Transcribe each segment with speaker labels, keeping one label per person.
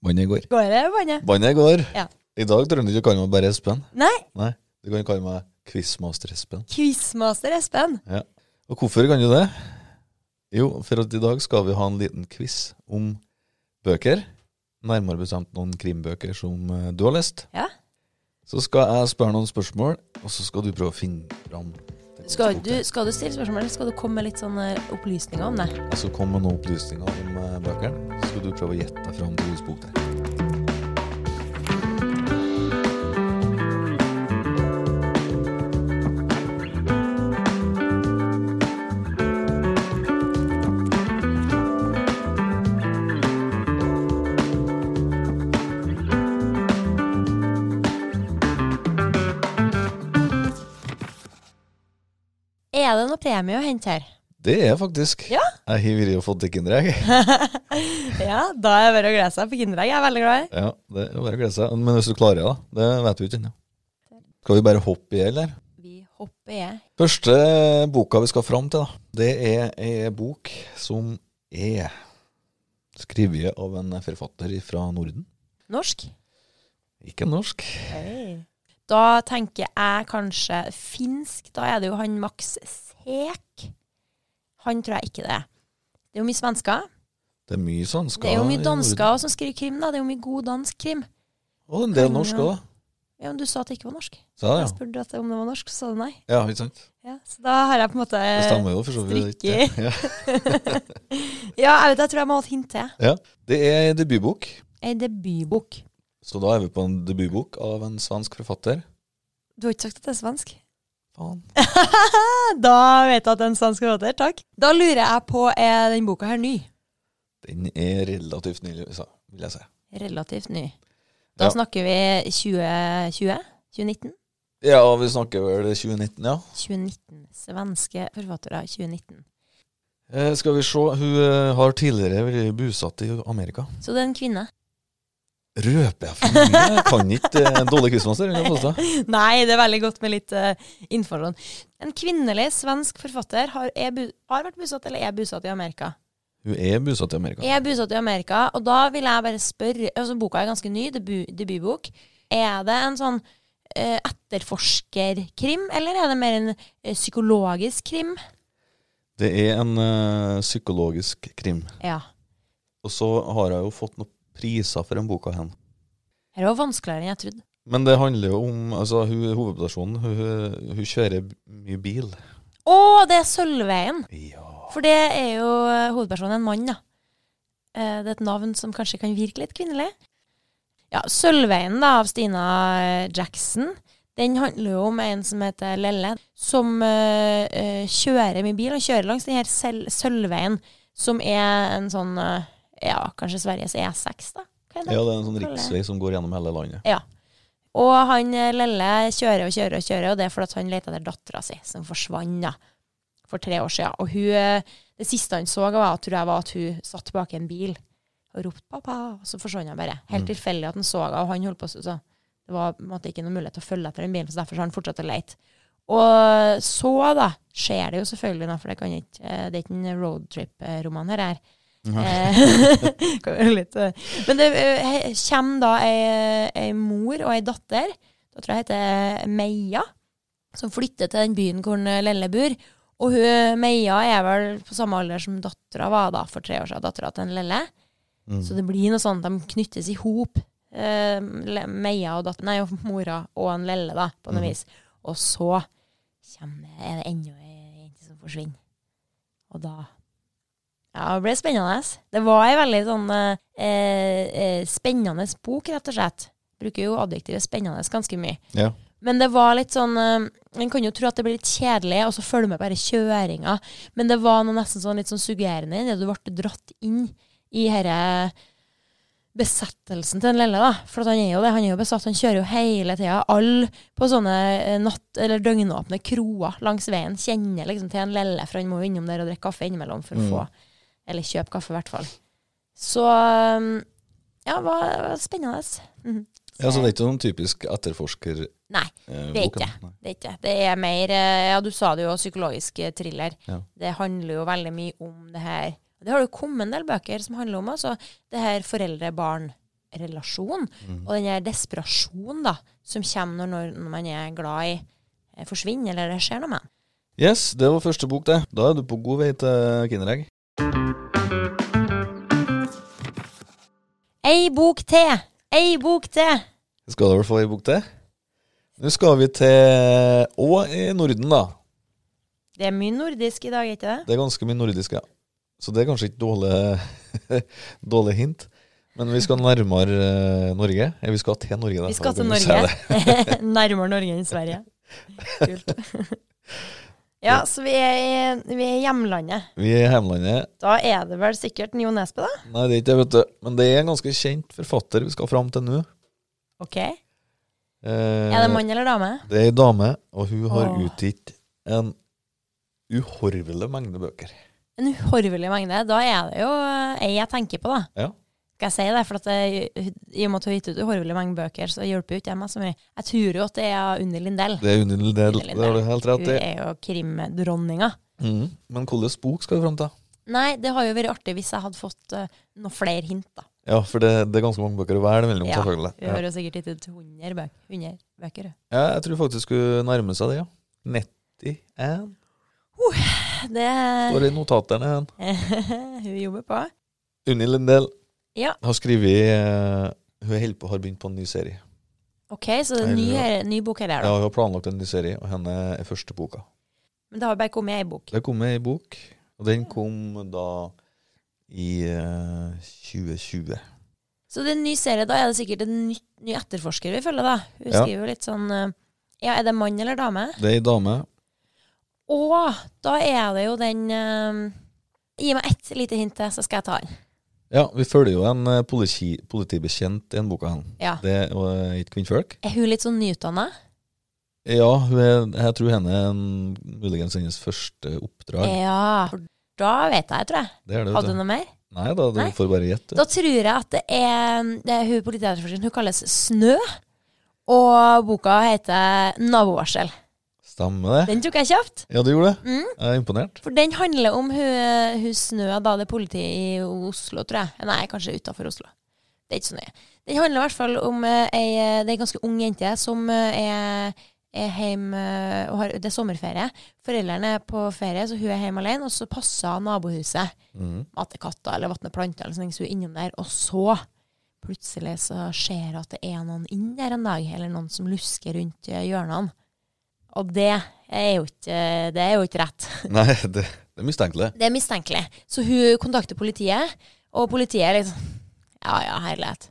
Speaker 1: Vannet går.
Speaker 2: Går det, vannet?
Speaker 1: Vannet går.
Speaker 2: Ja.
Speaker 1: I dag trenger du ikke å kalle meg bare Espen.
Speaker 2: Nei,
Speaker 1: Nei, du kan kalle meg Quizmaster Espen.
Speaker 2: quizmaster Espen.
Speaker 1: Og hvorfor kan du det? Jo, for at i dag skal vi ha en liten quiz om bøker. Nærmere bestemt noen krimbøker som eh, du har lest.
Speaker 2: Ja.
Speaker 1: Så skal jeg spørre noen spørsmål, og så skal du prøve å finne fram. til
Speaker 2: Skal du,
Speaker 1: konseptet.
Speaker 2: skal du stille spørsmål, eller skal du komme med litt sånne opplysninger om det?
Speaker 1: Jeg skal komme Altså, med noen opplysninger om eh, bøkene, så skal du prøve å gjette deg fram til hvilken bok det er.
Speaker 2: Er det noe premie å hente her?
Speaker 1: Det er jeg faktisk.
Speaker 2: Ja.
Speaker 1: Jeg har vært og fått til Kinderegg.
Speaker 2: Ja, da er det bare å glede seg. På Kinderegg er jeg veldig glad i.
Speaker 1: Ja, det er bare å glede seg. Men hvis du klarer det, da. Det vet vi ikke ennå. Skal vi bare hoppe i hjel der?
Speaker 2: Vi hopper jeg.
Speaker 1: Første boka vi skal fram til, da, det er ei bok som er skrevet av en forfatter fra Norden.
Speaker 2: Norsk?
Speaker 1: Ikke norsk.
Speaker 2: Da tenker jeg kanskje finsk. Da er det jo han Max Sek. Han tror jeg ikke det er. Det er jo mye svensker.
Speaker 1: Det er mye svensker.
Speaker 2: Det er jo
Speaker 1: i
Speaker 2: mye
Speaker 1: Norden.
Speaker 2: dansker også som skriver krim. da. Det er jo mye god dansk krim.
Speaker 1: Og en del norsk òg,
Speaker 2: Ja, men Du sa at det ikke var norsk.
Speaker 1: sa
Speaker 2: Jeg
Speaker 1: jeg.
Speaker 2: spurte at- om det var norsk, så sa du nei.
Speaker 1: Ja, ikke sant?
Speaker 2: Ja, så da har jeg på en måte
Speaker 1: Det stemmer jo for så vidt.
Speaker 2: strikker.
Speaker 1: Ja.
Speaker 2: Ja, jeg vet, jeg tror jeg må ha et hint til.
Speaker 1: Ja. Det er ei debutbok,
Speaker 2: Ei debutbok.
Speaker 1: så da er vi på en debutbok av en svensk forfatter.
Speaker 2: Du har ikke sagt at det er svensk?
Speaker 1: Faen.
Speaker 2: Da vet jeg at det er en svensk forfatter. Takk. Da lurer jeg på er den boka her ny.
Speaker 1: Den er relativt nylig, sa- vil jeg si.
Speaker 2: Relativt ny. Da
Speaker 1: Ja.
Speaker 2: snakker vi 2020? 2019?
Speaker 1: Ja, vi snakker vel 2019, ja.
Speaker 2: 2019. Svenske forfattere 2019.
Speaker 1: Eh, skal vi se, hun eh, har tidligere vært bosatt i Amerika.
Speaker 2: Så det er en kvinne.
Speaker 1: Røper jeg for mye? Kan ikke eh, en dårlig quizmaster. kan jeg påstå.
Speaker 2: Nei, det er veldig godt med litt uh, informasjon. En kvinnelig svensk forfatter har, er, bu- har vært bosatt eller er bosatt i Amerika.
Speaker 1: Hun er bosatt i Amerika.
Speaker 2: Jeg er bosatt i Amerika, og da vil jeg bare spørre altså Boka er ganske ny, debu, debutbok. Er det en sånn eh, etterforskerkrim, eller er det mer en eh, psykologisk krim?
Speaker 1: Det er en eh, psykologisk krim.
Speaker 2: Ja.
Speaker 1: Og så har jeg jo fått noen priser for den boka hen.
Speaker 2: Dette var vanskeligere enn jeg trodde.
Speaker 1: Men det handler jo om altså, hun, Hovedpersonen hun, hun, hun kjører b- mye bil.
Speaker 2: Å, det er Sølvveien!
Speaker 1: Ja.
Speaker 2: For det er jo eh, hovedpersonen en mann, da. Eh, det er et navn som kanskje kan virke litt kvinnelig. Ja, Sølvveien, da, av Stina eh, Jackson. Den handler jo om en som heter Lelle, som eh, eh, kjører med bil. Han kjører langs den her Sel- Sølvveien, som er en sånn eh, Ja, kanskje Sveriges E6, da? Hva er det?
Speaker 1: ja, det er en sånn riksvei som går gjennom hele landet.
Speaker 2: Og han eh, Lelle kjører og kjører og kjører, og det er fordi at han leter etter dattera si, som forsvant da, for tre år siden. Og hun, eh, det siste han så, var, tror jeg var at hun satt bak en bil og ropte 'pappa', og så forsvant hun bare. Helt tilfeldig at han så henne, og han holdt på så- så Det var på en måte ikke noe mulighet til å følge etter den bilen, så derfor har han fortsatt å leite. Og så, da, skjer det jo selvfølgelig, da, for det, kan ikke, eh, det er ikke en roadtrip-roman her. her. Eh, kan være litt, eh. Men det eh, he- kommer da ei, ei mor og ei datter, da tror jeg heter Meia, som flytter til den byen hvor hun Lelle bor. Og hun, Meia er vel på samme alder som dattera var da, for tre år siden, dattera til den Lelle.
Speaker 1: Mm.
Speaker 2: Så det blir noe sånn at de knyttes i hop. Eh, Le- Meia og datter, nei, og mora og en Lelle, da, på noe
Speaker 1: Mhm.
Speaker 2: vis. Og så kommer, er det enda ei jente som forsvinner. Og da Ja, det ble spennende. Det var ei veldig sånn eh, eh, spennende bok, rett og slett. Bruker jo adjektivet 'spennende' ganske mye.
Speaker 1: Ja.
Speaker 2: Men det var litt sånn eh, En kan jo tro at det blir litt kjedelig, og så følger med bare kjøringa. Men det var noe nesten sånn litt sånn suggererende i det. Du ble dratt inn i herre besettelsen til den lille, da. For at han er jo det. Han er jo besatt. Han kjører jo hele tida. Alle på sånne eh, natt- eller døgnåpne kroer langs veien kjenner liksom til en lille, for han må jo innom der og drikke kaffe innimellom for å
Speaker 1: Mm.
Speaker 2: få Eller kjøpe kaffe, i hvert fall. Så eh, Ja, det var det var spennende. Mhm.
Speaker 1: ja, Så det er ikke noen typisk etterforsker...
Speaker 2: Nei,
Speaker 1: eh,
Speaker 2: det er
Speaker 1: bok,
Speaker 2: ikke.
Speaker 1: da. Nei.
Speaker 2: Det er ikke det. Det er mer eh, Ja, du sa det jo, psykologisk eh, thriller.
Speaker 1: Ja.
Speaker 2: Det handler jo veldig mye om det her Det har jo kommet en del bøker som handler om altså, det her foreldre-barn-forholdet. relasjon.
Speaker 1: Mhm.
Speaker 2: Og den her desperasjonen da, som kommer når, når man er glad i, eh, forsvinner, eller det skjer noe med den.
Speaker 1: Yes, det var første bok, det. Da er du på god vei til Kinderegg.
Speaker 2: Ei bok til! Ei bok til!
Speaker 1: Skal du vel få ei bok til? Nå skal vi til Og i Norden, da.
Speaker 2: Det er mye nordisk i dag, er ikke det?
Speaker 1: Det er ganske mye nordisk, ja. Så det er kanskje ikke dårlig, dårlig hint. Men vi skal nærmere eh, Norge. Eller vi skal til Norge. da,
Speaker 2: Vi
Speaker 1: for
Speaker 2: skal
Speaker 1: å
Speaker 2: til
Speaker 1: kunne si det.
Speaker 2: Norge. Nærmere Norge enn Sverige. Kult. Ja, så vi er, i, vi er i hjemlandet.
Speaker 1: Vi er i hjemlandet.
Speaker 2: Da er det vel sikkert Jo Nesbø, da?
Speaker 1: Nei, det er ikke det, vet du. Men det er en ganske kjent forfatter vi skal fram til nå.
Speaker 2: Ok.
Speaker 1: Eh,
Speaker 2: Er det mann eller dame?
Speaker 1: Det er ei dame, og hun har
Speaker 2: Åh.
Speaker 1: utgitt en uhorvelig mengde bøker.
Speaker 2: En uhorvelig mengde. Da er det jo eh, ei jeg tenker på, da.
Speaker 1: Ja.
Speaker 2: Skal jeg si det? For at jeg, I og med at hun har gitt ut uhorvelig mengde bøker, så hjelper jo ikke jeg meg så mye. Jeg tror jo at det er Unni Lindell.
Speaker 1: Det er Unni Lindell,
Speaker 2: Unni Lindell.
Speaker 1: det har du helt rett
Speaker 2: Hun
Speaker 1: i.
Speaker 2: er jo krimdronninga.
Speaker 1: Mhm. Men hvilken bok skal vi fram til?
Speaker 2: Nei, det har jo vært artig hvis jeg hadde fått eh, noen flere hint, da.
Speaker 1: Ja, for det, det er ganske mange bøker å velge mellom,
Speaker 2: Ja,
Speaker 1: selvfølgelig.
Speaker 2: Hun
Speaker 1: Ja.
Speaker 2: har jo sikkert gitt ut 100 bøker. 100 bøker. hun.
Speaker 1: ja, jeg tror faktisk hun nærmer seg det, ja. 91 står
Speaker 2: Det
Speaker 1: det i notatene. igjen.
Speaker 2: Hun jobber på.
Speaker 1: Unni Lindell
Speaker 2: Ja.
Speaker 1: har skrevet eh, Hun holder på, har begynt på en ny serie.
Speaker 2: OK, så det er en ny, ny bok her,
Speaker 1: Ja,
Speaker 2: da.
Speaker 1: Hun har planlagt en ny serie, og henne er første boka.
Speaker 2: Men det har jo bare kommet ei bok.
Speaker 1: Det kom ei bok, og den kom da i eh, 2020.
Speaker 2: Så det er en ny serie. Da er det sikkert en ny, ny etterforsker vi følger, da. Hun
Speaker 1: Ja.
Speaker 2: skriver jo litt sånn eh, Ja, er det mann eller dame?
Speaker 1: Det er ei dame.
Speaker 2: Å, da er det jo den eh, Gi meg ett lite hint til, så skal jeg ta den.
Speaker 1: Ja, vi følger jo en eh, politi, politibetjent i den boka. hen.
Speaker 2: Ja.
Speaker 1: Det er jo, eh, et kvinnfolk.
Speaker 2: Er hun litt sånn nyutdanna?
Speaker 1: Ja, hun er, jeg tror henne er en- muligens hennes første oppdrag.
Speaker 2: Ja. For da vet jeg, tror jeg.
Speaker 1: Det er det, vet
Speaker 2: Eh, Hadde
Speaker 1: du.
Speaker 2: du noe mer?
Speaker 1: Nei da, du
Speaker 2: Nei.
Speaker 1: får bare gjette.
Speaker 2: Da tror jeg at det er, det er hun politietterforskeren. Hun kalles Snø. Og boka heter 'Nabovarsel'.
Speaker 1: Stemmer det.
Speaker 2: Den tok jeg kjapt.
Speaker 1: Ja, du gjorde det.
Speaker 2: Mm.
Speaker 1: Jeg er imponert.
Speaker 2: For den handler om hun, hun Snø, da det er politi i Oslo, tror jeg. Nei, kanskje utafor Oslo. Det er ikke så nøye. Den handler i hvert fall om eh, ei, det er en ganske ung jente som eh, er, er hjemme eh, og har, Det er sommerferie. Foreldrene er på ferie, så hun er hjemme alene. Og så passer hun nabohuset.
Speaker 1: Mhm.
Speaker 2: Mate katter eller vatne planter eller sånn, så hun er innom der. Og så plutselig så ser hun at det er noen inn der en dag, eller noen som lusker rundt eh, hjørnene. Og det er jo ikke, det er jo ikke rett.
Speaker 1: Nei, det, det er mistenkelig.
Speaker 2: Det er mistenkelig. Så hun kontakter politiet, og politiet er liksom Ja ja, herlighet.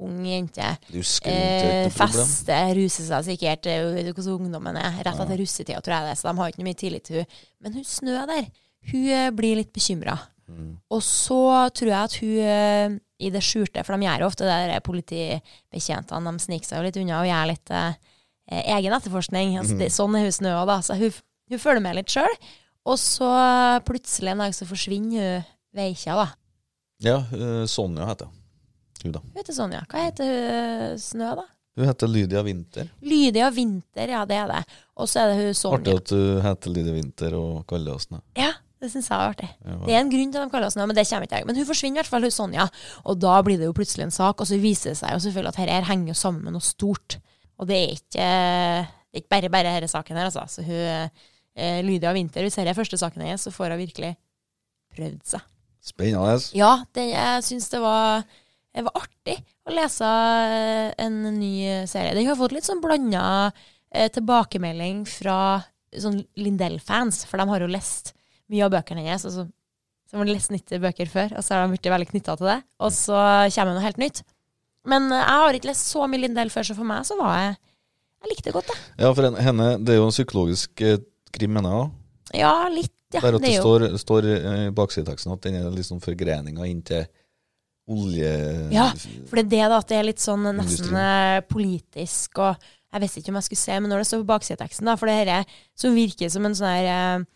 Speaker 2: Ung jente.
Speaker 1: Du
Speaker 2: Eh, altså.
Speaker 1: skriver ikke problem.
Speaker 2: fester, ruser seg sikkert. Det er jo hvordan ungdommen er. Rett etter russetida, tror jeg det. Så de har ikke mye tillit til hun. Men hun Snø der, hun eh, blir litt bekymra.
Speaker 1: Mhm.
Speaker 2: Og så tror jeg at hun eh, i det skjulte, for de gjør jo ofte det der eh, politibetjentene, de sniker seg jo litt unna og gjør litt eh, egen etterforskning.
Speaker 1: Mhm.
Speaker 2: Altså, det, sånn er hun Snø òg, da. Så hun, hun følger med litt sjøl. Og så plutselig en dag så forsvinner hun veikja, da.
Speaker 1: Ja, eh, Sonja heter hun.
Speaker 2: Hun heter Sonja. Hva heter hun eh, Snø, da?
Speaker 1: Hun heter Lydia Winther.
Speaker 2: Lydia Winter, ja, det er det. Og så er det hun
Speaker 1: Artig
Speaker 2: Sonja.
Speaker 1: at du heter Lydia Winther og kaller oss det.
Speaker 2: Ja, det syns jeg var artig.
Speaker 1: Ja.
Speaker 2: Det er en grunn til at de kaller oss noe, men det kommer ikke jeg. Men hun forsvinner i hvert fall, hun Sonja. Og da blir det jo plutselig en sak, og så viser det seg jo selvfølgelig at dette her henger jo sammen med noe stort. Og det er ikke, eh, det er ikke bare bare denne saken her, altså. Så hun, eh, Lydia Winther, hvis dette er første saken hennes, så får hun virkelig prøvd seg.
Speaker 1: Spennende.
Speaker 2: Ja, det, jeg syns det var det var artig å lese eh, en ny serie. Den har fått litt sånn blanda eh, tilbakemelding fra sånn Lindell-fans, for de har jo lest mye av bøkene hennes. Altså, så har de lest 90 bøker før, og så har de blitt veldig knytta til det. Og så kommer det noe helt nytt. Men eh, jeg har ikke lest så mye Lindell før, så for meg så var jeg Jeg likte det godt, jeg.
Speaker 1: Ja, for henne- henne, det er jo en psykologisk eh, krim, mener jeg. også.
Speaker 2: Ja, litt. Ja,
Speaker 1: Bare at
Speaker 2: det
Speaker 1: det
Speaker 2: er jo
Speaker 1: står, står eh, i baksideteksten at den er liksom forgreninga inn til olje...
Speaker 2: Ja, For det er det da, at det er litt sånn nesten
Speaker 1: Industri.
Speaker 2: eh, politisk og Jeg visste ikke om jeg skulle se, men når det står på baksideteksten, da, for det her er- som virker som en sånn her eh,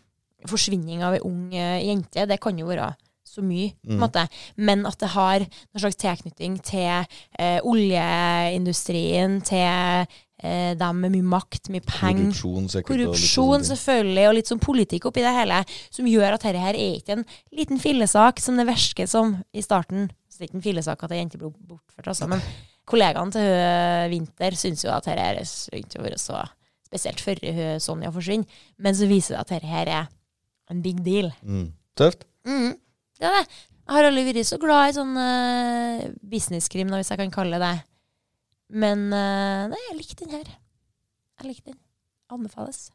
Speaker 2: forsvinning av ei ung eh, jente, det kan jo være så mye, på en måte. Men at det har noen slags tilknytning til eh, oljeindustrien, til eh, dem med mye makt, mye penger.
Speaker 1: korrupsjon, sikkert. og litt
Speaker 2: Korrupsjon,
Speaker 1: sånne ting.
Speaker 2: selvfølgelig, og litt sånn politikk oppi det hele, som gjør at dette her er ikke en liten fillesak som det virker som i starten. Så Det er ikke en fillesak at ei jente blir bortført, altså. Men kollegaene til hun Winter syns jo at dette her er rundt å være så Spesielt før hun Sonja forsvinner. Men så viser det at dette her er en big deal.
Speaker 1: Mm. Tøft.
Speaker 2: Mm, det er det. Jeg har aldri vært så glad i sånn eh, businesskrim, da, hvis jeg kan kalle det det. Men eh, nei, jeg likte den her. Jeg likte den. Anbefales.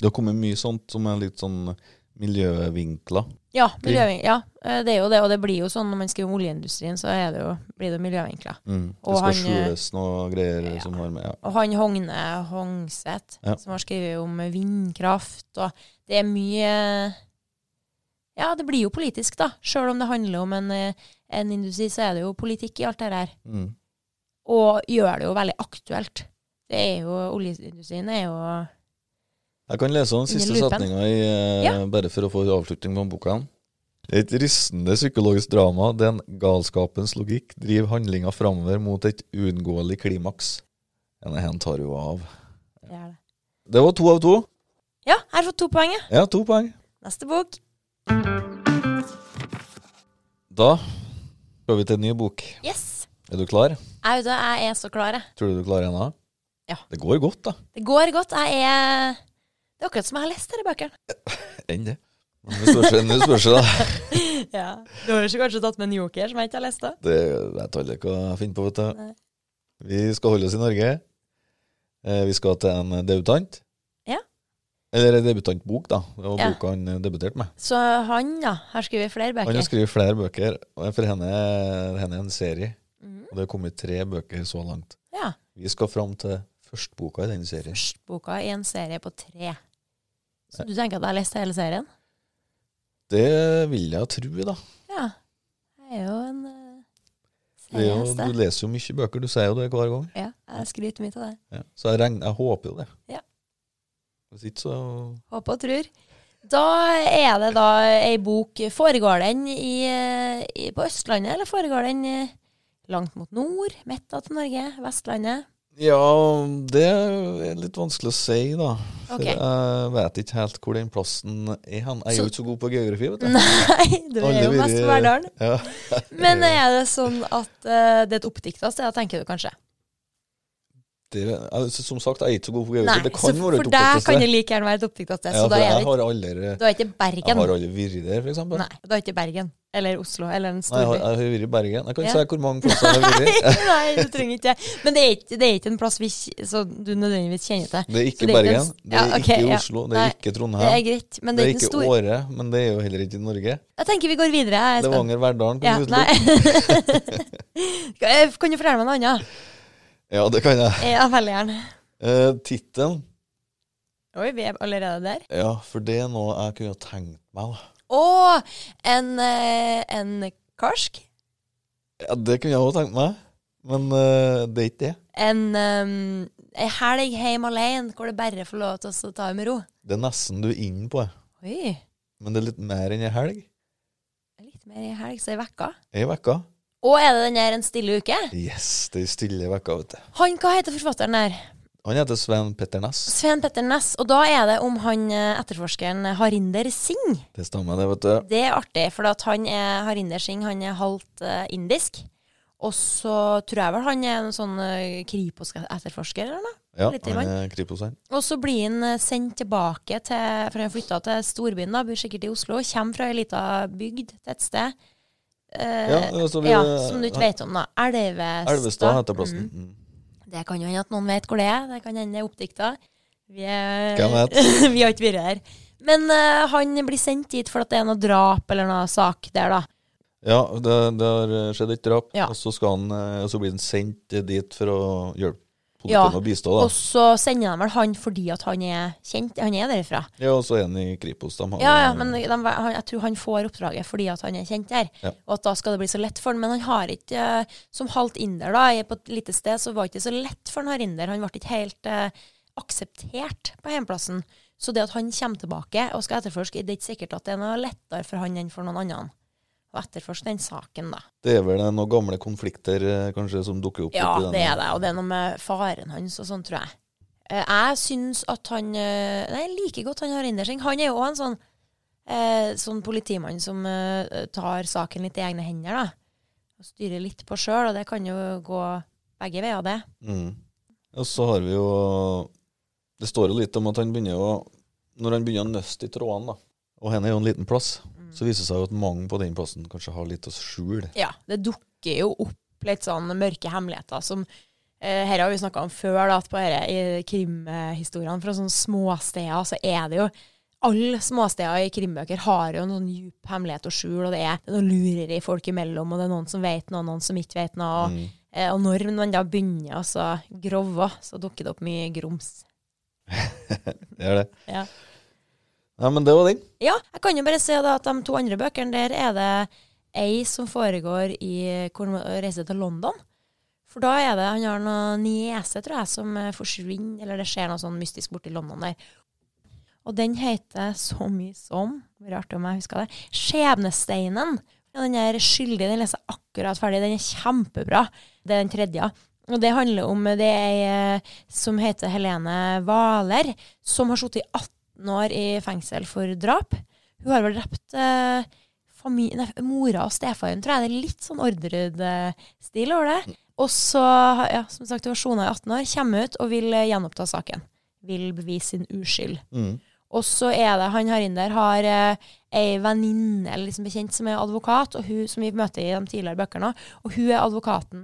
Speaker 1: Det har kommet mye sånt som er litt sånn miljøvinkler.
Speaker 2: Ja, miljøvin- ja, eh, det er jo det. Og det blir jo sånn når man skriver om oljeindustrien, så er det jo, blir det miljøvinkla.
Speaker 1: Mm. Det
Speaker 2: Og
Speaker 1: skal
Speaker 2: han, eh,
Speaker 1: skjules noe greier
Speaker 2: ja.
Speaker 1: som har med ja.
Speaker 2: Og han Hogne Hongseth,
Speaker 1: Ja.
Speaker 2: som har skrevet om vindkraft, og det er mye Ja, det blir jo politisk, da. Sjøl om det handler om en, eh, en industri, så er det jo politikk i alt det her.
Speaker 1: mm.
Speaker 2: og gjør det jo veldig aktuelt. Det er jo, Oljeindustrien er jo
Speaker 1: Jeg kan lese den siste
Speaker 2: Under lupen.
Speaker 1: setninga, i, eh,
Speaker 2: Ja.
Speaker 1: bare for å få avslutning på boka. igjen. Et rystende psykologisk drama den galskapens logikk driver handlinga framover mot et uunngåelig klimaks. Denne her tar jo av.
Speaker 2: det er det.
Speaker 1: Det var to av to.
Speaker 2: Ja, jeg har fått to poeng. jeg.
Speaker 1: Ja, to poeng.
Speaker 2: Neste bok.
Speaker 1: Da skal vi til en ny bok.
Speaker 2: Yes!
Speaker 1: Er du klar?
Speaker 2: Jeg, vet du, jeg er så klar, jeg.
Speaker 1: Tror du du klarer henne?
Speaker 2: Ja.
Speaker 1: Det går godt, da.
Speaker 2: Det går godt. Jeg er Det er akkurat som jeg har lest disse bøkene.
Speaker 1: Enn det. Men det spørs, det spørs da.
Speaker 2: Ja. Du har jo ikke kanskje tatt med en joker som jeg ikke har lest? da?
Speaker 1: Det, jeg tar ikke hva jeg finner på, vet du.
Speaker 2: Nei.
Speaker 1: Vi skal holde oss i Norge. Eh, vi skal til en debutant.
Speaker 2: Ja.
Speaker 1: Eller en debutantbok, da. Det var
Speaker 2: Ja.
Speaker 1: boka han eh, debuterte med.
Speaker 2: Så han ja, har skrevet flere
Speaker 1: Han har
Speaker 2: bøker.
Speaker 1: skrevet flere bøker, og for henne, henne er en serie.
Speaker 2: Mhm.
Speaker 1: Og det har kommet tre bøker så langt.
Speaker 2: Ja.
Speaker 1: Vi skal fram til førstboka i den serien.
Speaker 2: Førstboka i en serie på tre. Så du tenker at jeg har lest hele serien?
Speaker 1: Det vil jeg tro, da.
Speaker 2: Ja. Jeg er jo en eh,
Speaker 1: Det er jo, du
Speaker 2: seriehest, jeg.
Speaker 1: leser jo mye bøker, du sier jo det hver gang.
Speaker 2: Ja, jeg skryter mye av det.
Speaker 1: Ja. Så jeg, regner, jeg håper jo det.
Speaker 2: Ja.
Speaker 1: Hvis ikke, så
Speaker 2: Håper og tror. Da er det da ei bok Foregår den i, eh, i, på Østlandet, eller foregår den eh, langt mot nord? Midta til Norge? Vestlandet?
Speaker 1: Ja, det er litt vanskelig å si, da. For
Speaker 2: Ok.
Speaker 1: jeg vet ikke helt hvor den plassen er hen. Jeg er
Speaker 2: Så-
Speaker 1: jo ikke så god på geografi, vet du.
Speaker 2: Nei, du er
Speaker 1: Alle
Speaker 2: jo
Speaker 1: vil-
Speaker 2: mest fra Verdalen.
Speaker 1: Ja. Eh.
Speaker 2: Men er det sånn at eh, det er et oppdikta sted, tenker du kanskje?
Speaker 1: Det, altså, som sagt, jeg er ikke så god på
Speaker 2: Nei,
Speaker 1: geografi. det
Speaker 2: så
Speaker 1: kan være
Speaker 2: for
Speaker 1: et
Speaker 2: deg kan
Speaker 1: opptatt
Speaker 2: det like gjerne være et oppdikta sted.
Speaker 1: Ja,
Speaker 2: så
Speaker 1: for
Speaker 2: da er
Speaker 1: jeg
Speaker 2: det,
Speaker 1: har aldri,
Speaker 2: ikke- da er det ikke
Speaker 1: jeg
Speaker 2: Bergen.
Speaker 1: har aldri vært der, for eksempel. Nei,
Speaker 2: Nei, da er det ikke Bergen. Eller Oslo, eller en
Speaker 1: jeg har,
Speaker 2: storby.
Speaker 1: jeg har vært i Bergen. Jeg kan ikke
Speaker 2: Ja.
Speaker 1: si hvor mange plasser jeg har vært.
Speaker 2: Nei, du trenger ikke det. Men det er ikke, det er ikke en plass vi, kj- som du nødvendigvis kjenner til.
Speaker 1: Det er ikke
Speaker 2: Så det er ikke en
Speaker 1: Bergen,
Speaker 2: s-
Speaker 1: det er
Speaker 2: Ja, ok,
Speaker 1: ikke
Speaker 2: ja.
Speaker 1: Oslo, det
Speaker 2: Nei,
Speaker 1: er ikke
Speaker 2: Det er
Speaker 1: Trondheim.
Speaker 2: greit, men
Speaker 1: Det er
Speaker 2: ikke en
Speaker 1: ikke
Speaker 2: stor
Speaker 1: Åre, men det er jo heller ikke i Norge.
Speaker 2: Jeg tenker vi går videre. Jeg er spent.
Speaker 1: Levanger, Verdalen kan
Speaker 2: Ja,
Speaker 1: du utelukke.
Speaker 2: nei. Kan- kan du fortelle meg noe annet?
Speaker 1: Ja, det kan jeg.
Speaker 2: Ja, veldig gjerne.
Speaker 1: Eh, Tittelen
Speaker 2: Oi, vi er allerede der.
Speaker 1: Ja, for det er noe jeg kunne ha tenkt meg. da.
Speaker 2: Å, en, eh, en karsk.
Speaker 1: Ja, Det kunne jeg òg tenkt meg, men eh, det er ikke det.
Speaker 2: En um, ei helg hjemme alene hvor det bare får lov til å så ta det med ro.
Speaker 1: Det er nesten du er inne på,
Speaker 2: Oi.
Speaker 1: men det er litt mer enn ei helg.
Speaker 2: Litt mer ei helg, så ei uke.
Speaker 1: Ei uke.
Speaker 2: Og er det den der En stille uke?
Speaker 1: Yes, det er stille uke, vet du.
Speaker 2: Han, Hva heter forfatteren der?
Speaker 1: Han heter Sven Petter Næss.
Speaker 2: Sven Petter Næss. Og da er det om han eh, etterforskeren Harinder Singh.
Speaker 1: Det stemmer, det, vet du.
Speaker 2: Det er artig, for at han er Harinder Singh, han er halvt eh, indisk. Og så tror jeg vel han er en sånn eh, Kripos-etterforsker, eller noe.
Speaker 1: Ja,
Speaker 2: Litt i
Speaker 1: han er Kripos, han.
Speaker 2: Og så blir han eh, sendt tilbake til For han flytta til storbyen, da, bor sikkert i Oslo. Kommer fra ei lita bygd, tettsted.
Speaker 1: Ja,
Speaker 2: Uh,
Speaker 1: altså, vi-
Speaker 2: ja, som du ikke vet om, da. Elvestad.
Speaker 1: Elvestad heter plassen.
Speaker 2: Mm.
Speaker 1: Mm.
Speaker 2: Det kan jo hende at noen vet hvor det er. Det kan hende det er oppdikta. Vi, er,
Speaker 1: Hvem vet?
Speaker 2: vi har ikke vært her. Men eh, han blir sendt dit for at det er noe drap eller noe sak der, da.
Speaker 1: Ja, det, det har eh, skjedd et drap,
Speaker 2: Ja.
Speaker 1: og så, skal han, eh, og så blir han sendt dit for å hjelpe politiet
Speaker 2: Ja,
Speaker 1: med å bistå.
Speaker 2: Og
Speaker 1: da.
Speaker 2: så sender de vel han fordi at han er kjent, han er derifra.
Speaker 1: Ja, og så er han i Kripos. De har,
Speaker 2: Ja, ja, men de, han, jeg tror han får oppdraget fordi at han er kjent der,
Speaker 1: Ja.
Speaker 2: og at da skal det bli så lett for han. Men han har ikke, eh, som halvt inder da, i- på et lite sted, så var det ikke så lett for han her inder. Han ble ikke helt eh, akseptert på hjemplassen. Så det at han kommer tilbake og skal etterforske, det er ikke sikkert at det er noe lettere for han enn for noen annen. Å etterforske den saken, da.
Speaker 1: Det er vel eh, noen gamle konflikter eh, kanskje som dukker opp?
Speaker 2: Ja,
Speaker 1: oppi den.
Speaker 2: det er det. Og det er noe med faren hans og sånn, tror jeg. Eh, Jeg syns at han eh, Nei, jeg liker godt han har innersing. Han er jo òg en sånn, eh, sånn politimann som eh, tar saken litt i egne hender, da. å styre litt på sjøl, og det kan jo gå begge veier, det.
Speaker 1: Mm. Og så har vi jo Det står jo litt om at han begynner å Når han begynner å nøste i trådene, da og henne er jo en liten plass,
Speaker 2: Mm.
Speaker 1: så viser det seg jo at mange på den plassen kanskje har litt å skjule.
Speaker 2: Ja, det dukker jo opp litt sånn mørke hemmeligheter som eh, Her har vi snakka om før, da, at på dette i krimhistoriene fra sånne småsteder, så er det jo alle småsteder i krimbøker har jo en sånn djup hemmelighet å skjule, og det er noe lureri folk imellom, og det er noen som vet noe, og noen som ikke vet noe. Og,
Speaker 1: Mm.
Speaker 2: eh, og når man da begynner å så grove, så dukker det opp mye grums.
Speaker 1: Det er det.
Speaker 2: Ja.
Speaker 1: Nei, men det var den.
Speaker 2: Ja, jeg kan jo bare se da at de to andre bøkene, der er det ei som foregår i hvor han reiser til London. For da er det Han har noen niese, tror jeg, som eh, forsvinner, eller det skjer noe sånn mystisk borti London der. Og den heter så mye som det blir Rart om jeg husker det. Skjebnesteinen. Ja, den er skyldig. Den leser jeg akkurat ferdig. Den er kjempebra. Det er den tredje. Og det handler om eh, det er ei eh, som heter Helene Hvaler, som har sittet i 18 år i fengsel for drap. Hun har vel drept eh, fami- nei, mora og stefaren, tror jeg. Det er litt sånn Orderud-stil over det. Og så, ja, som sagt, hun har sona i 18 år, kommer ut og vil eh, gjenoppta saken. Vil bevise sin uskyld.
Speaker 1: Mm.
Speaker 2: Og så er det han her inne der har eh, ei venninne eller liksom bekjent som er advokat, og hun, som vi møter i de tidligere bøkene. også, Og hun er advokaten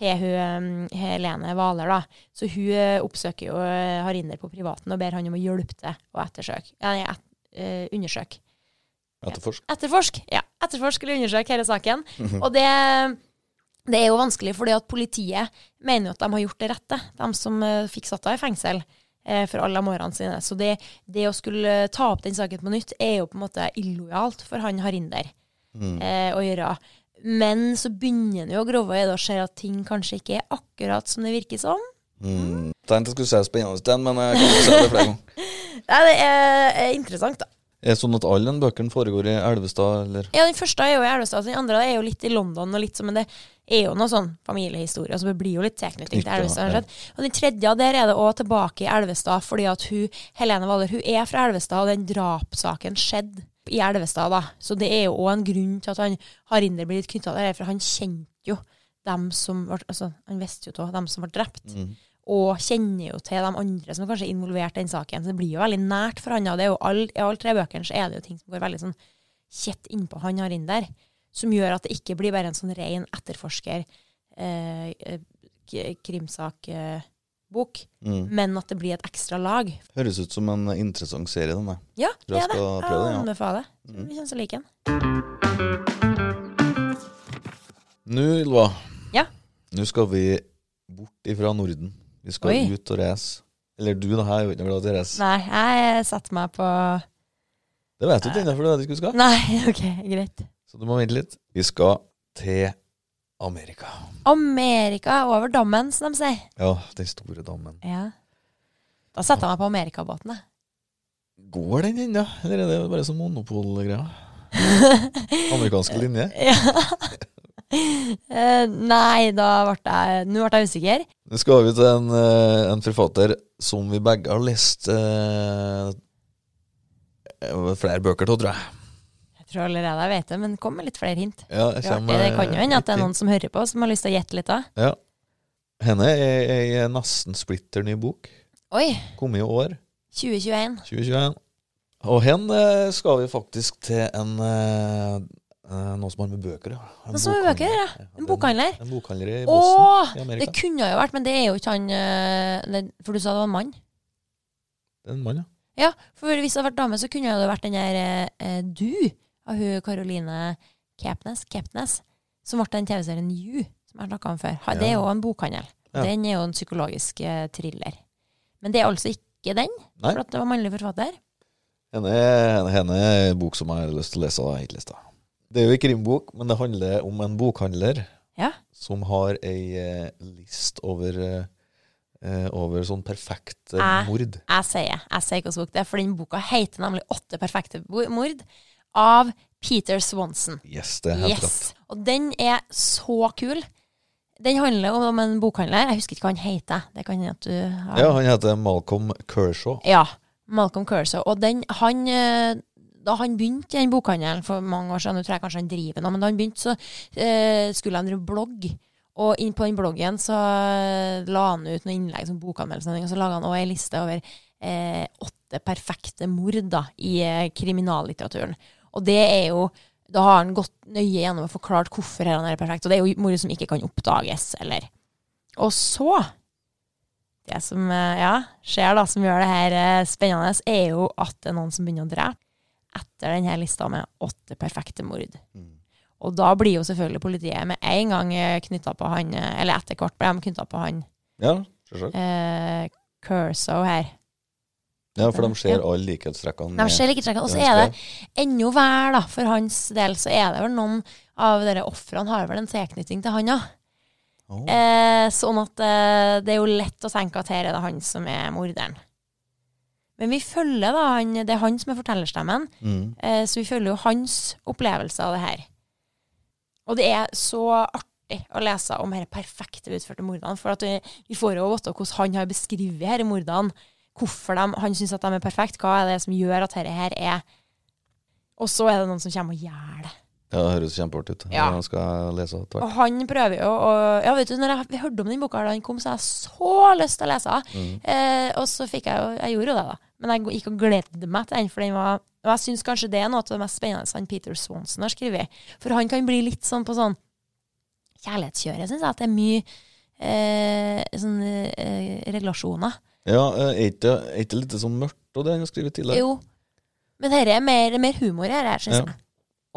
Speaker 2: til hun, eh, Helene Hvaler. da. Så hun eh, oppsøker jo eh, Harinder på privaten og ber han om å hjelpe til å ettersøke. Ja, nei, et, eh, undersøke.
Speaker 1: Etterforsk.
Speaker 2: Etterforsk! Ja, Mhm. etterforsk eller undersøke hele saken. Og det, det er jo vanskelig, fordi at politiet mener jo at de har gjort det rette, de som eh, fikk satt deg i fengsel eh, for alle de årene sine. Så det, det å skulle eh, ta opp den saken på nytt er jo på en måte illojalt for han Harinder
Speaker 1: Mm.
Speaker 2: eh, å gjøre. Men så begynner han jo å grove øyne og ser at ting kanskje ikke er akkurat som det virker som.
Speaker 1: Mm. Tenkte jeg skulle si spennende, den, men jeg kan ikke si det flere ganger.
Speaker 2: Nei, det er, er interessant, da.
Speaker 1: Er det sånn at alle de bøkene foregår i Elvestad, eller?
Speaker 2: Ja, den første er jo i Elvestad, den andre er jo litt i London, og litt sånn, men det er jo noe sånn familiehistorie, så det blir jo litt tilknytning til
Speaker 1: Knyttet,
Speaker 2: Elvestad.
Speaker 1: ja.
Speaker 2: rett og slett. Og den tredje, der er det òg tilbake i Elvestad, fordi at hun, Helene Hvaler hun er fra Elvestad, og den drapssaken skjedde i Elvestad, da. Så det er jo òg en grunn til at han Harinder blir litt knytta til det, for han kjente jo dem som ble, altså, han visste jo av dem som ble drept.
Speaker 1: Mm.
Speaker 2: Og kjenner jo til de andre som kanskje er involvert i den saken. Så det blir jo veldig nært for han. Og det er jo all, I alle tre bøkene så er det jo ting som går veldig sånn kjett innpå han har inn der, som gjør at det ikke blir bare en sånn ren etterforsker eh, eh, k- krimsak eh, bok,
Speaker 1: Mm.
Speaker 2: men at det blir et ekstra lag.
Speaker 1: Høres ut som en interessant serie, den der.
Speaker 2: Ja,
Speaker 1: Tror
Speaker 2: det
Speaker 1: jeg
Speaker 2: er det.
Speaker 1: skal prøve den,
Speaker 2: Jeg
Speaker 1: ja. Mm.
Speaker 2: anbefaler. Vi kommer til å like den.
Speaker 1: Nå, Ylva,
Speaker 2: Ja.
Speaker 1: nå skal vi bort ifra Norden. Vi skal
Speaker 2: Oi.
Speaker 1: ut og reise. Eller du, da, jeg er jo ikke noe glad til å reise.
Speaker 2: Nei, jeg setter meg på
Speaker 1: Det vet du ikke ennå, for du vet ikke hvor du skal.
Speaker 2: Nei, OK, greit.
Speaker 1: Så du må vente litt. Vi skal til Amerika.
Speaker 2: Amerika er over dammen, som de sier.
Speaker 1: Ja, den store dammen.
Speaker 2: Ja. Da setter jeg meg på amerikabåten, jeg.
Speaker 1: Går den ennå, eller er det bare sånn monopolgreier? Amerikanske linje.
Speaker 2: Ja. Eh, Nei, da ble jeg Nå ble jeg usikker.
Speaker 1: Nå skal vi til en, eh, en forfatter som vi begge har lest eh, eh, flere bøker til, tror jeg.
Speaker 2: Jeg tror allerede jeg vet det, men kom med litt flere hint.
Speaker 1: Ja, jeg
Speaker 2: Ja,
Speaker 1: kommer,
Speaker 2: det kan jo hende at det
Speaker 1: eh,
Speaker 2: er noen som hører på, som har lyst til å gjette litt da.
Speaker 1: Ja. Henne er ei nesten splitter ny bok.
Speaker 2: Oi,
Speaker 1: Kom i år,
Speaker 2: 2021.
Speaker 1: 2021. Og hen eh, skal vi faktisk til en eh, eh, noe som har med bøker å gjøre. En
Speaker 2: Noe som har med bøker å gjøre,
Speaker 1: bokhandler.
Speaker 2: En bokhandler.
Speaker 1: En bokhandler i
Speaker 2: Å,
Speaker 1: Boston i
Speaker 2: det
Speaker 1: Amerika.
Speaker 2: kunne jo vært, men det er jo ikke han eh, den- For du sa det var en mann.
Speaker 1: Det er en mann, ja.
Speaker 2: Ja, for hvis det hadde vært dame, så kunne det vært den der eh, eh, Du av hun Caroline Kepnes, Kepnes som ble den TV-serien You, som jeg har snakka om før. Ha- Det er
Speaker 1: Ja.
Speaker 2: jo en bokhandel.
Speaker 1: Ja.
Speaker 2: Den er jo en psykologisk eh, thriller. Men det er altså ikke den,
Speaker 1: Nei.
Speaker 2: for at det var mannlig forfatter.
Speaker 1: Henne, henne, henne er en bok som jeg har lyst til å lese. og jeg har ikke lest det. Det er jo en krimbok, men det handler om en bokhandler
Speaker 2: Ja.
Speaker 1: som har ei eh, list over, eh, eh, over sånn perfekte
Speaker 2: Ah.
Speaker 1: mord.
Speaker 2: Jeg sier jeg sier hvilken bok det er, for den boka heter nemlig 'Åtte perfekte bo- mord' av Peter Swanson.
Speaker 1: Yes, det er helt rett.
Speaker 2: Yes. Og den er så kul. Den handler om en bokhandler. Jeg husker ikke hva han heter. Det kan hende at du har
Speaker 1: Ja, han heter Malcolm Kershaw.
Speaker 2: Ja, Malcolm Cursow. Og den, han eh, da Da han begynte i den bokhandelen for mange år siden, nå tror jeg kanskje han driver nå, men da han begynte, så eh, skulle han drive blogg. Og inn på den bloggen så eh, la han ut noen innlegg som bokanmeldelse, og sånne ting, og så laga han òg ei liste over eh, åtte perfekte mord da, i eh, kriminallitteraturen. Og det er jo Da har han gått nøye gjennom og forklart hvorfor her han er perfekt. Og det er jo mord som ikke kan oppdages, eller Og så det som eh, ja, skjer, da, som gjør det her eh, spennende, er jo at det er noen som begynner å drepe etter denne lista med åtte perfekte mord.
Speaker 1: Mm.
Speaker 2: Og da blir jo selvfølgelig politiet med en gang knytta på han eh, Eller etter hvert ble de knytta på han
Speaker 1: Ja, selvsagt.
Speaker 2: eh, Curso her.
Speaker 1: Ja, for de ser
Speaker 2: Ja.
Speaker 1: alle likhetstrekkene.
Speaker 2: De ser likhetstrekkene. Og så er det ennå hver, da, for hans del, så er det vel noen av dere ofrene har vel en tilknytning til han, ja.
Speaker 1: Åh.
Speaker 2: Eh, sånn at eh, det er jo lett å tenke at her er det han som er morderen. Men vi følger da han, det er han som er fortellerstemmen,
Speaker 1: Mm.
Speaker 2: eh, så vi følger jo hans opplevelse av det her. Og det er så artig å lese om disse perfekte utførte mordene, for at vi, vi får jo vite hvordan han har beskrevet disse mordene, hvorfor de, han syns at de er perfekte, hva er det som gjør at dette her er Og så er det noen som kommer og gjør det.
Speaker 1: Ja, det høres kjempeartig ut.
Speaker 2: Ja.
Speaker 1: Det skal jeg lese etter hvert.
Speaker 2: Og han prøver jo å Ja, vet du, når jeg, jeg hørte om den boka da den kom, så hadde jeg så lyst til å lese den. Eh, og så fikk jeg jo Jeg gjorde jo det, da. Men jeg gikk og gledde meg til den, for den var Og jeg syns kanskje det er noe av det mest spennende han Peter Swanson har skrevet. For han kan bli litt sånn på sånn kjærlighetskjøret, syns jeg. At det er mye eh, sånne eh, relasjoner.
Speaker 1: Ja, eh, er ikke er ikke det litt sånn mørkt og det han har skrevet tidligere?
Speaker 2: Jo. Men dette er mer, mer humor her, her syns
Speaker 1: Ja.
Speaker 2: jeg.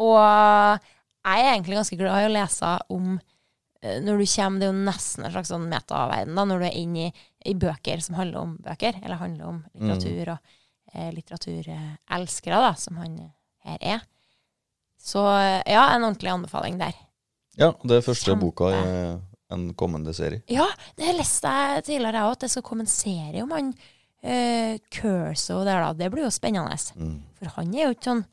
Speaker 2: Og jeg er egentlig ganske glad i å lese om eh, når du kommer, Det er jo nesten en slags sånn metaverden da, når du er inne i, i bøker som handler om bøker, eller handler om litteratur og eh, litteraturelskere, da, som han her er. Så ja, en ordentlig anbefaling der.
Speaker 1: Ja, det er første
Speaker 2: Kjempe.
Speaker 1: boka i en kommende serie.
Speaker 2: Ja, det leste jeg tidligere òg, at det skal komme en serie om han uh, Curso der, da. Det blir jo spennende.
Speaker 1: Mm.
Speaker 2: For han er jo ikke sånn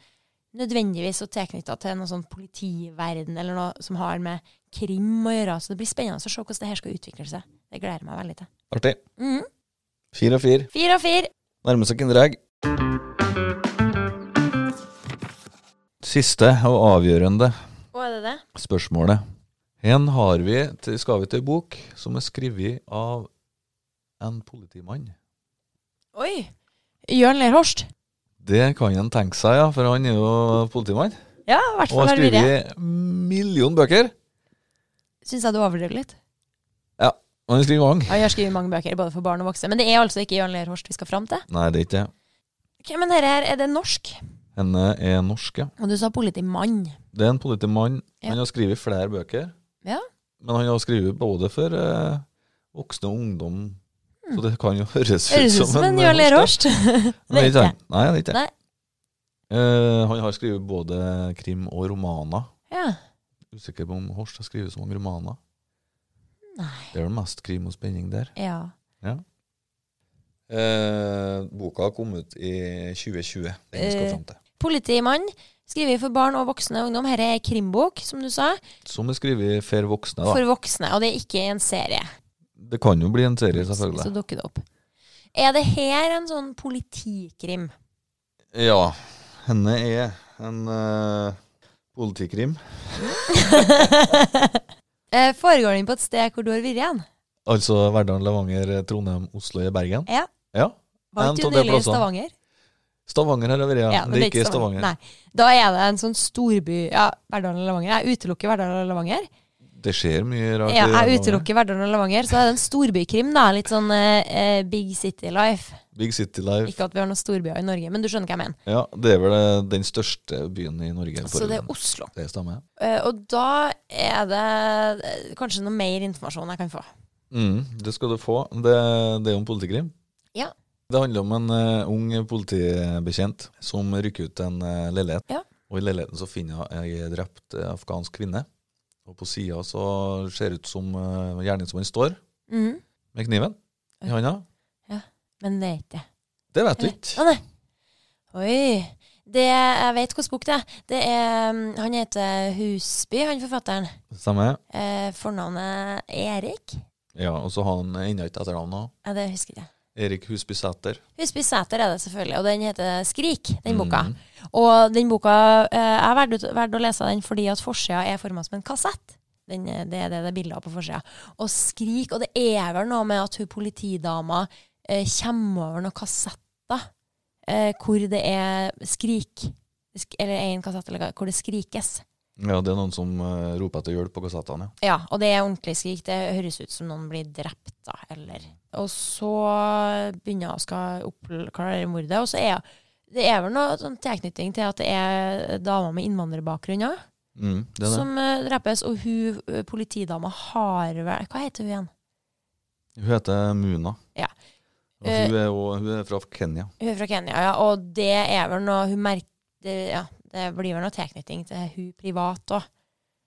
Speaker 2: nødvendigvis så tilknytta til noe sånn politiverden eller noe som har med krim å gjøre. Så det blir spennende å se hvordan det her skal utvikle seg. Det gleder jeg meg veldig til.
Speaker 1: Artig.
Speaker 2: Mhm.
Speaker 1: Fire og fire.
Speaker 2: Fire og fire.
Speaker 1: Nærmer seg Kinderegg. Siste og avgjørende
Speaker 2: Hva er det det?
Speaker 1: spørsmålet. Hen har vi til, skal vi til en bok som er skrevet av en politimann.
Speaker 2: Oi! Jørn Lerhorst.
Speaker 1: Det kan en tenke seg, ja, for han er jo politimann.
Speaker 2: Ja, i hvert
Speaker 1: Og
Speaker 2: fall
Speaker 1: har
Speaker 2: har vi det.
Speaker 1: skrevet million bøker.
Speaker 2: Syns jeg du overdrev litt.
Speaker 1: Og han skriver mange.
Speaker 2: Ja, jeg har skrevet mange bøker, både for barn og voksne. Men det er altså ikke Jørn Lerhorst vi skal fram til.
Speaker 1: Nei, det er ikke det.
Speaker 2: Ok, Men dette her, er det norsk?
Speaker 1: Henne er norsk, ja.
Speaker 2: Og du sa politimann.
Speaker 1: Det er en politimann.
Speaker 2: Ja.
Speaker 1: Han har skrevet flere bøker.
Speaker 2: Ja.
Speaker 1: Men han har skrevet både for eh, voksne og ungdom. Så det kan jo høres ut
Speaker 2: Hmm. Høres ut som en
Speaker 1: norsk, ja.
Speaker 2: Jørn Lerhorst.
Speaker 1: Men det er ikke
Speaker 2: Vet
Speaker 1: han. Nei, det er ikke han.
Speaker 2: Nei.
Speaker 1: Eh, han har skrevet både krim og romaner.
Speaker 2: Ja.
Speaker 1: Usikker på om Horst har skrevet så mange romaner.
Speaker 2: Nei.
Speaker 1: Det er vel mest krim og spenning der.
Speaker 2: Ja.
Speaker 1: Eh, boka kom ut i 2020. Den vi skal
Speaker 2: Eh.
Speaker 1: fram til.
Speaker 2: Politimann. Skrevet for barn og voksne ungdom. Her er krimbok, som du sa.
Speaker 1: Som er skrevet for voksne, da.
Speaker 2: For voksne, og det er ikke en serie.
Speaker 1: Det kan jo bli en serie,
Speaker 2: Så
Speaker 1: selvfølgelig.
Speaker 2: dukker det opp. Er det her en sånn politikrim?
Speaker 1: Ja. Henne er en eh, politikrim.
Speaker 2: Eh, Foregår den på et sted hvor du har vært igjen?
Speaker 1: Altså Verdal, Levanger, Trondheim, Oslo og Bergen.
Speaker 2: Ja.
Speaker 1: ja.
Speaker 2: Var
Speaker 1: En
Speaker 2: ikke
Speaker 1: av
Speaker 2: du
Speaker 1: de
Speaker 2: nylig i
Speaker 1: plassene.
Speaker 2: Stavanger?
Speaker 1: Stavanger har jeg vært, ja.
Speaker 2: Ja, men
Speaker 1: det er ikke Stavanger.
Speaker 2: Nei. Da er det en sånn storby Ja, Verdal og Levanger. Jeg utelukker Verdal og Levanger.
Speaker 1: Det skjer mye rart. i
Speaker 2: Ja, jeg
Speaker 1: Levanger.
Speaker 2: utelukker Verdal og Levanger. Så er det en storbykrim, da. Litt sånn eh, eh, Big City Life.
Speaker 1: Big City Life.
Speaker 2: Ikke at vi har noen storbyer i Norge, men du skjønner hva jeg mener.
Speaker 1: Ja, Det er vel eh, den største byen i Norge. for
Speaker 2: Så Altså, det er
Speaker 1: øyeblikket.
Speaker 2: Oslo.
Speaker 1: det stemmer.
Speaker 2: Eh, og da er det eh, kanskje noe mer informasjon jeg kan få.
Speaker 1: Mm, det skal du få. Det, det er jo en politikrim.
Speaker 2: Ja.
Speaker 1: Det handler om en eh, ung politibetjent som rykker ut til en eh, leilighet.
Speaker 2: Ja.
Speaker 1: Og I leiligheten så finner hun ei drept eh, afghansk kvinne. Og på sida så ser det ut som uh, gjerningsmannen står
Speaker 2: Mhm.
Speaker 1: med kniven i handa.
Speaker 2: Men det er ikke det.
Speaker 1: Det vet du ikke.
Speaker 2: Å nei. Oi. Det, jeg vet hvilken bok det er. Det er. um, Han heter Husby, han forfatteren.
Speaker 1: Stemmer.
Speaker 2: Eh, fornavnet Erik?
Speaker 1: Ja, og så har han ennå ikke etternavn.
Speaker 2: Ja, det husker jeg ikke.
Speaker 1: Erik Husby Sæter.
Speaker 2: Husby Sæter er det selvfølgelig, og den heter Skrik, den boka.
Speaker 1: Mhm.
Speaker 2: Og den boka eh, Jeg valgte valgte å lese den fordi at forsida er forma som en kassett. Den, eh, det er det det er bilder av på forsida. Og skrik. Og det er vel noe med at hun politidama eh, kommer over noen kassetter eh, hvor det er skrik. Sk eller en kassett eller hva- hvor det skrikes.
Speaker 1: Ja, det er noen som eh, roper etter hjelp på kassettene, ja.
Speaker 2: Ja, og det er ordentlig skrik. Det høres ut som noen blir drept, da, eller Og så begynner hun å skal oppklare det mordet, og så er det er vel noe sånn tilknytning til at det er damer med innvandrerbakgrunn òg
Speaker 1: Mm, det er det.
Speaker 2: som eh, drepes, og hun eh, politidama har vel Hva heter hun igjen?
Speaker 1: Hun heter Muna.
Speaker 2: Ja. Eh,
Speaker 1: Og hun er, jo- hun er fra Kenya.
Speaker 2: Hun er fra Kenya, ja, og det er vel noe hun merker Ja, det blir vel noe tilknytning til hun privat òg.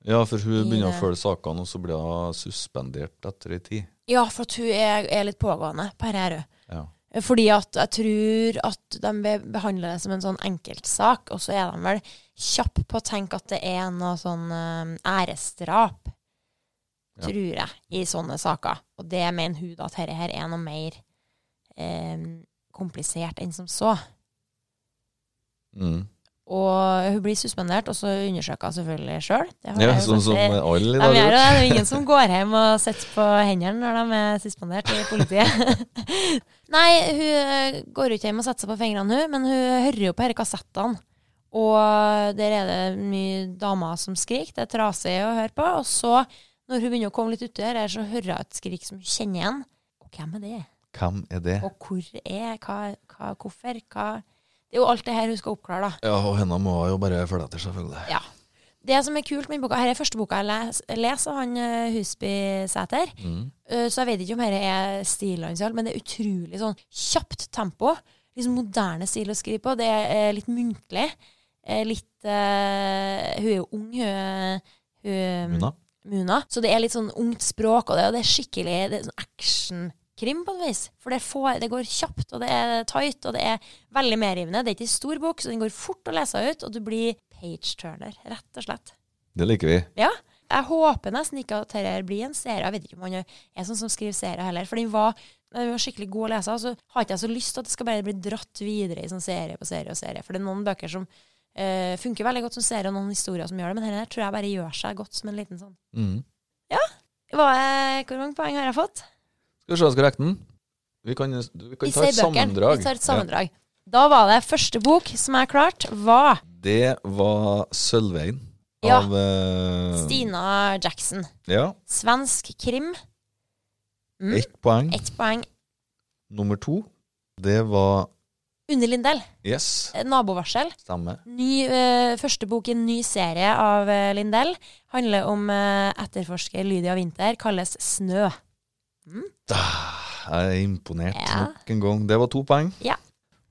Speaker 1: Ja, for hun
Speaker 2: I
Speaker 1: begynner å
Speaker 2: det-
Speaker 1: følge sakene, og så blir hun suspendert etter ei tid.
Speaker 2: Ja, for at hun er, er litt pågående på dette, her, hun.
Speaker 1: Ja.
Speaker 2: Fordi at jeg tror at de be- behandler det som en sånn enkeltsak, og så er de vel kjappe på å tenke at det er noe sånn eh, æresdrap,
Speaker 1: Ja.
Speaker 2: tror jeg, i sånne saker. Og det mener hun da at dette her er noe mer eh, komplisert enn som så.
Speaker 1: Mm.
Speaker 2: Og hun blir suspendert, og så undersøker hun selvfølgelig sjøl.
Speaker 1: ja sånn som alle i
Speaker 2: De
Speaker 1: dag
Speaker 2: gjør det.
Speaker 1: gjør.
Speaker 2: Det er jo ingen som går hjem og sitter på hendene når de er suspendert i politiet. Nei, hun eh, går jo ikke hjem og setter seg på fingrene, hun, men hun hører jo på disse kassettene. Og der er det mye damer som skriker. Det er trasig å høre på. Og så, når hun begynner å komme litt uti her, så hører hun et skrik som hun kjenner igjen. Og hvem er det?
Speaker 1: Hvem er det?
Speaker 2: Og hvor er Hva, hva hvorfor? Hva Det er jo alt det her hun skal oppklare, da.
Speaker 1: Ja, og henne må jo bare følge etter, selvfølgelig.
Speaker 2: Ja. Det som er kult med denne boka, her er første boka jeg les- leser av han eh, Husby Sæter.
Speaker 1: Mm.
Speaker 2: Eh, Så jeg vet ikke om dette er stilen hans, i alt, men det er utrolig sånn kjapt tempo. Liksom moderne stil å skrive på. Det er eh, litt muntlig. eh, Litt eh, Hun er jo ung, hun, er- hun
Speaker 1: Muna?
Speaker 2: Muna. Så det er litt sånn ungt språk, og det, og det er skikkelig det er sånn actionkrim på en vis. For det, får, det går kjapt, og det er tight, og det er veldig medrivende. Det er ikke en stor bok, så den går fort å lese ut, og du blir page-turner, rett og slett.
Speaker 1: Det liker vi.
Speaker 2: Ja. Jeg håper nesten ikke at dette her blir en serie. Jeg vet ikke om han er sånn som skriver serier heller. For den var, den var skikkelig god å lese, og så har ikke jeg så lyst til at det skal bare bli dratt videre i sånn serie på serie og serie. For det er noen bøker som eh, funker veldig godt som serie, og noen historier som gjør det, men denne her tror jeg bare gjør seg godt som en liten sånn
Speaker 1: Mm.
Speaker 2: Hva er, hvor mange poeng har jeg fått?
Speaker 1: Skal vi se, jeg skal rekke den. Vi kan, vi kan
Speaker 2: Vi
Speaker 1: ta
Speaker 2: ser
Speaker 1: et
Speaker 2: bøkene.
Speaker 1: sammendrag.
Speaker 2: Vi tar et sammendrag. Da var det første bok som jeg klarte, var
Speaker 1: Ja. Det var Sølvveien
Speaker 2: Ja.
Speaker 1: av eh,
Speaker 2: Stina Jackson.
Speaker 1: Ja,
Speaker 2: Svensk krim. Mm.
Speaker 1: ett poeng.
Speaker 2: Ett poeng.
Speaker 1: Nummer to, det var
Speaker 2: Unni Lindell.
Speaker 1: Yes,
Speaker 2: eh, Nabovarsel.
Speaker 1: stemmer.
Speaker 2: Ny, eh, første bok i en ny serie av eh, Lindell. Handler om eh, etterforsker Lydia Winther. Kalles Snø.
Speaker 1: Jeg er imponert
Speaker 2: Ja.
Speaker 1: nok en gang. Det var to poeng.
Speaker 2: Ja.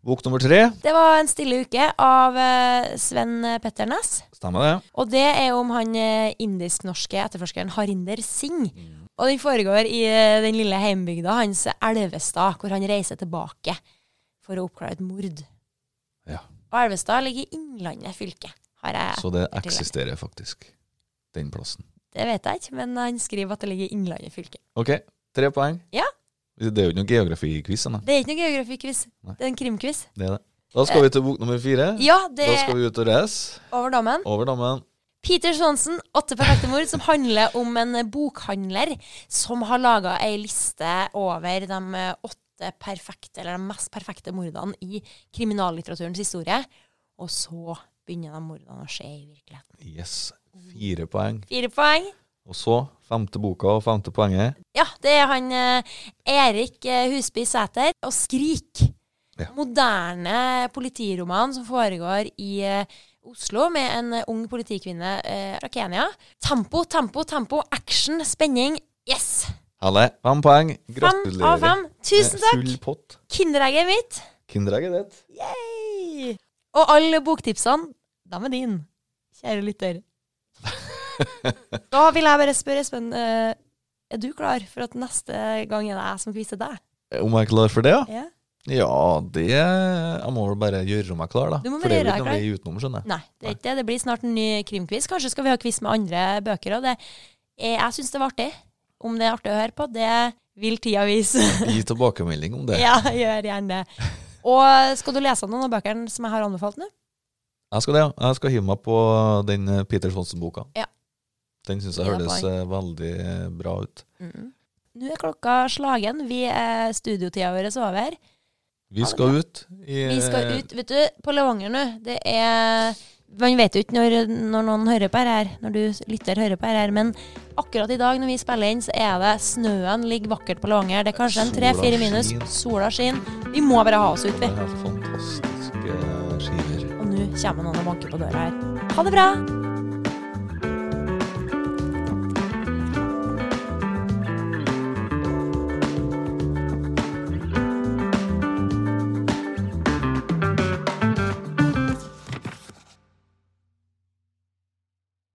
Speaker 1: Bok nummer tre,
Speaker 2: Det var En stille uke av eh, Sven Petter Næss.
Speaker 1: stemmer det?
Speaker 2: Og det er om han eh, indisk-norske etterforskeren Harinder Singh. Og den foregår i eh, den lille heimbygda hans Elvestad, hvor han reiser tilbake for å oppklare et mord.
Speaker 1: Ja.
Speaker 2: Og Elvestad ligger i Innlandet fylke, har jeg.
Speaker 1: Så det eksisterer faktisk, den plassen.
Speaker 2: Det vet jeg ikke, men han skriver at det ligger i Innlandet fylke.
Speaker 1: Ok, tre poeng.
Speaker 2: Ja.
Speaker 1: Det er jo ikke noen geografikviss, nei.
Speaker 2: Det er ikke noe geografikviss,
Speaker 1: Nei.
Speaker 2: det er en krimquiz.
Speaker 1: Det er det. Da skal vi til bok nummer fire.
Speaker 2: Ja, det
Speaker 1: Da
Speaker 2: er
Speaker 1: skal vi ut og reise
Speaker 2: over dammen.
Speaker 1: over dammen.
Speaker 2: Peter Swanson, 'Åtte perfekte mord', som handler om en bokhandler som har laga ei liste over de eh, åtte perfekte, eller de mest perfekte mordene i kriminallitteraturens historie. Og så begynner de mordene å skje i virkeligheten.
Speaker 1: Yes, fire poeng.
Speaker 2: Fire poeng.
Speaker 1: Og så femte boka og femte poenget.
Speaker 2: Ja, det er han eh, Erik eh, Husby Sæter. Og 'Skrik'.
Speaker 1: Ja.
Speaker 2: Moderne politiroman som foregår i eh, Oslo med en eh, ung politikvinne eh, fra Kenya. Tempo, tempo, tempo. Action, spenning. Yes!
Speaker 1: Helle, fem poeng.
Speaker 2: Fem
Speaker 1: Gratulerer.
Speaker 2: av fem. Tusen
Speaker 1: Med
Speaker 2: takk!
Speaker 1: Full pott.
Speaker 2: Kinderegget er mitt.
Speaker 1: Kinderegget ditt.
Speaker 2: Yay! Og alle boktipsene, de er din, kjære lytter. da vil jeg bare spørre Espen, eh, er du klar for at neste gang er det jeg som quizer deg?
Speaker 1: Om jeg er klar for det, ja?
Speaker 2: Ja.
Speaker 1: Ja, det Jeg må vel bare gjøre meg klar, da.
Speaker 2: Du må
Speaker 1: For
Speaker 2: bare
Speaker 1: det er jo
Speaker 2: gjøre
Speaker 1: ikke
Speaker 2: deg
Speaker 1: noe vei utenom, skjønner jeg.
Speaker 2: Nei, det er ikke det. Det blir snart en ny krimquiz. Kanskje skal vi ha quiz med andre bøker òg. Jeg syns det var artig. Om det er artig å høre på, det vil tida vise.
Speaker 1: Gi tilbakemelding om det.
Speaker 2: ja, gjør gjerne det. Og skal du lese noen av bøkene som jeg har anbefalt nå?
Speaker 1: Jeg skal det, ja. Jeg skal hive meg på den eh, Peter Swanson-boka.
Speaker 2: Ja.
Speaker 1: Den syns jeg
Speaker 2: Ja,
Speaker 1: høres
Speaker 2: bra.
Speaker 1: eh, veldig eh, bra ut.
Speaker 2: Nå er klokka slagen. Vi er studiotida vår er over.
Speaker 1: Vi
Speaker 2: Ja, det er
Speaker 1: skal ut. I,
Speaker 2: Vi skal
Speaker 1: eh,
Speaker 2: ut vet du, på Levanger nå. Det er Man vet jo ikke når, når noen hører på dette, her, når du lytter hører på dette, her, men akkurat i dag når vi spiller inn, så er det snøen ligger vakkert på Levanger. Det er kanskje en
Speaker 1: Sola
Speaker 2: tre-fire minus.
Speaker 1: skinner.
Speaker 2: Sola skinner. Vi må bare ha oss ut,
Speaker 1: Det
Speaker 2: vi.
Speaker 1: er helt fantastiske skiver.
Speaker 2: Og nå kommer noen og banker på døra her. Ha det bra!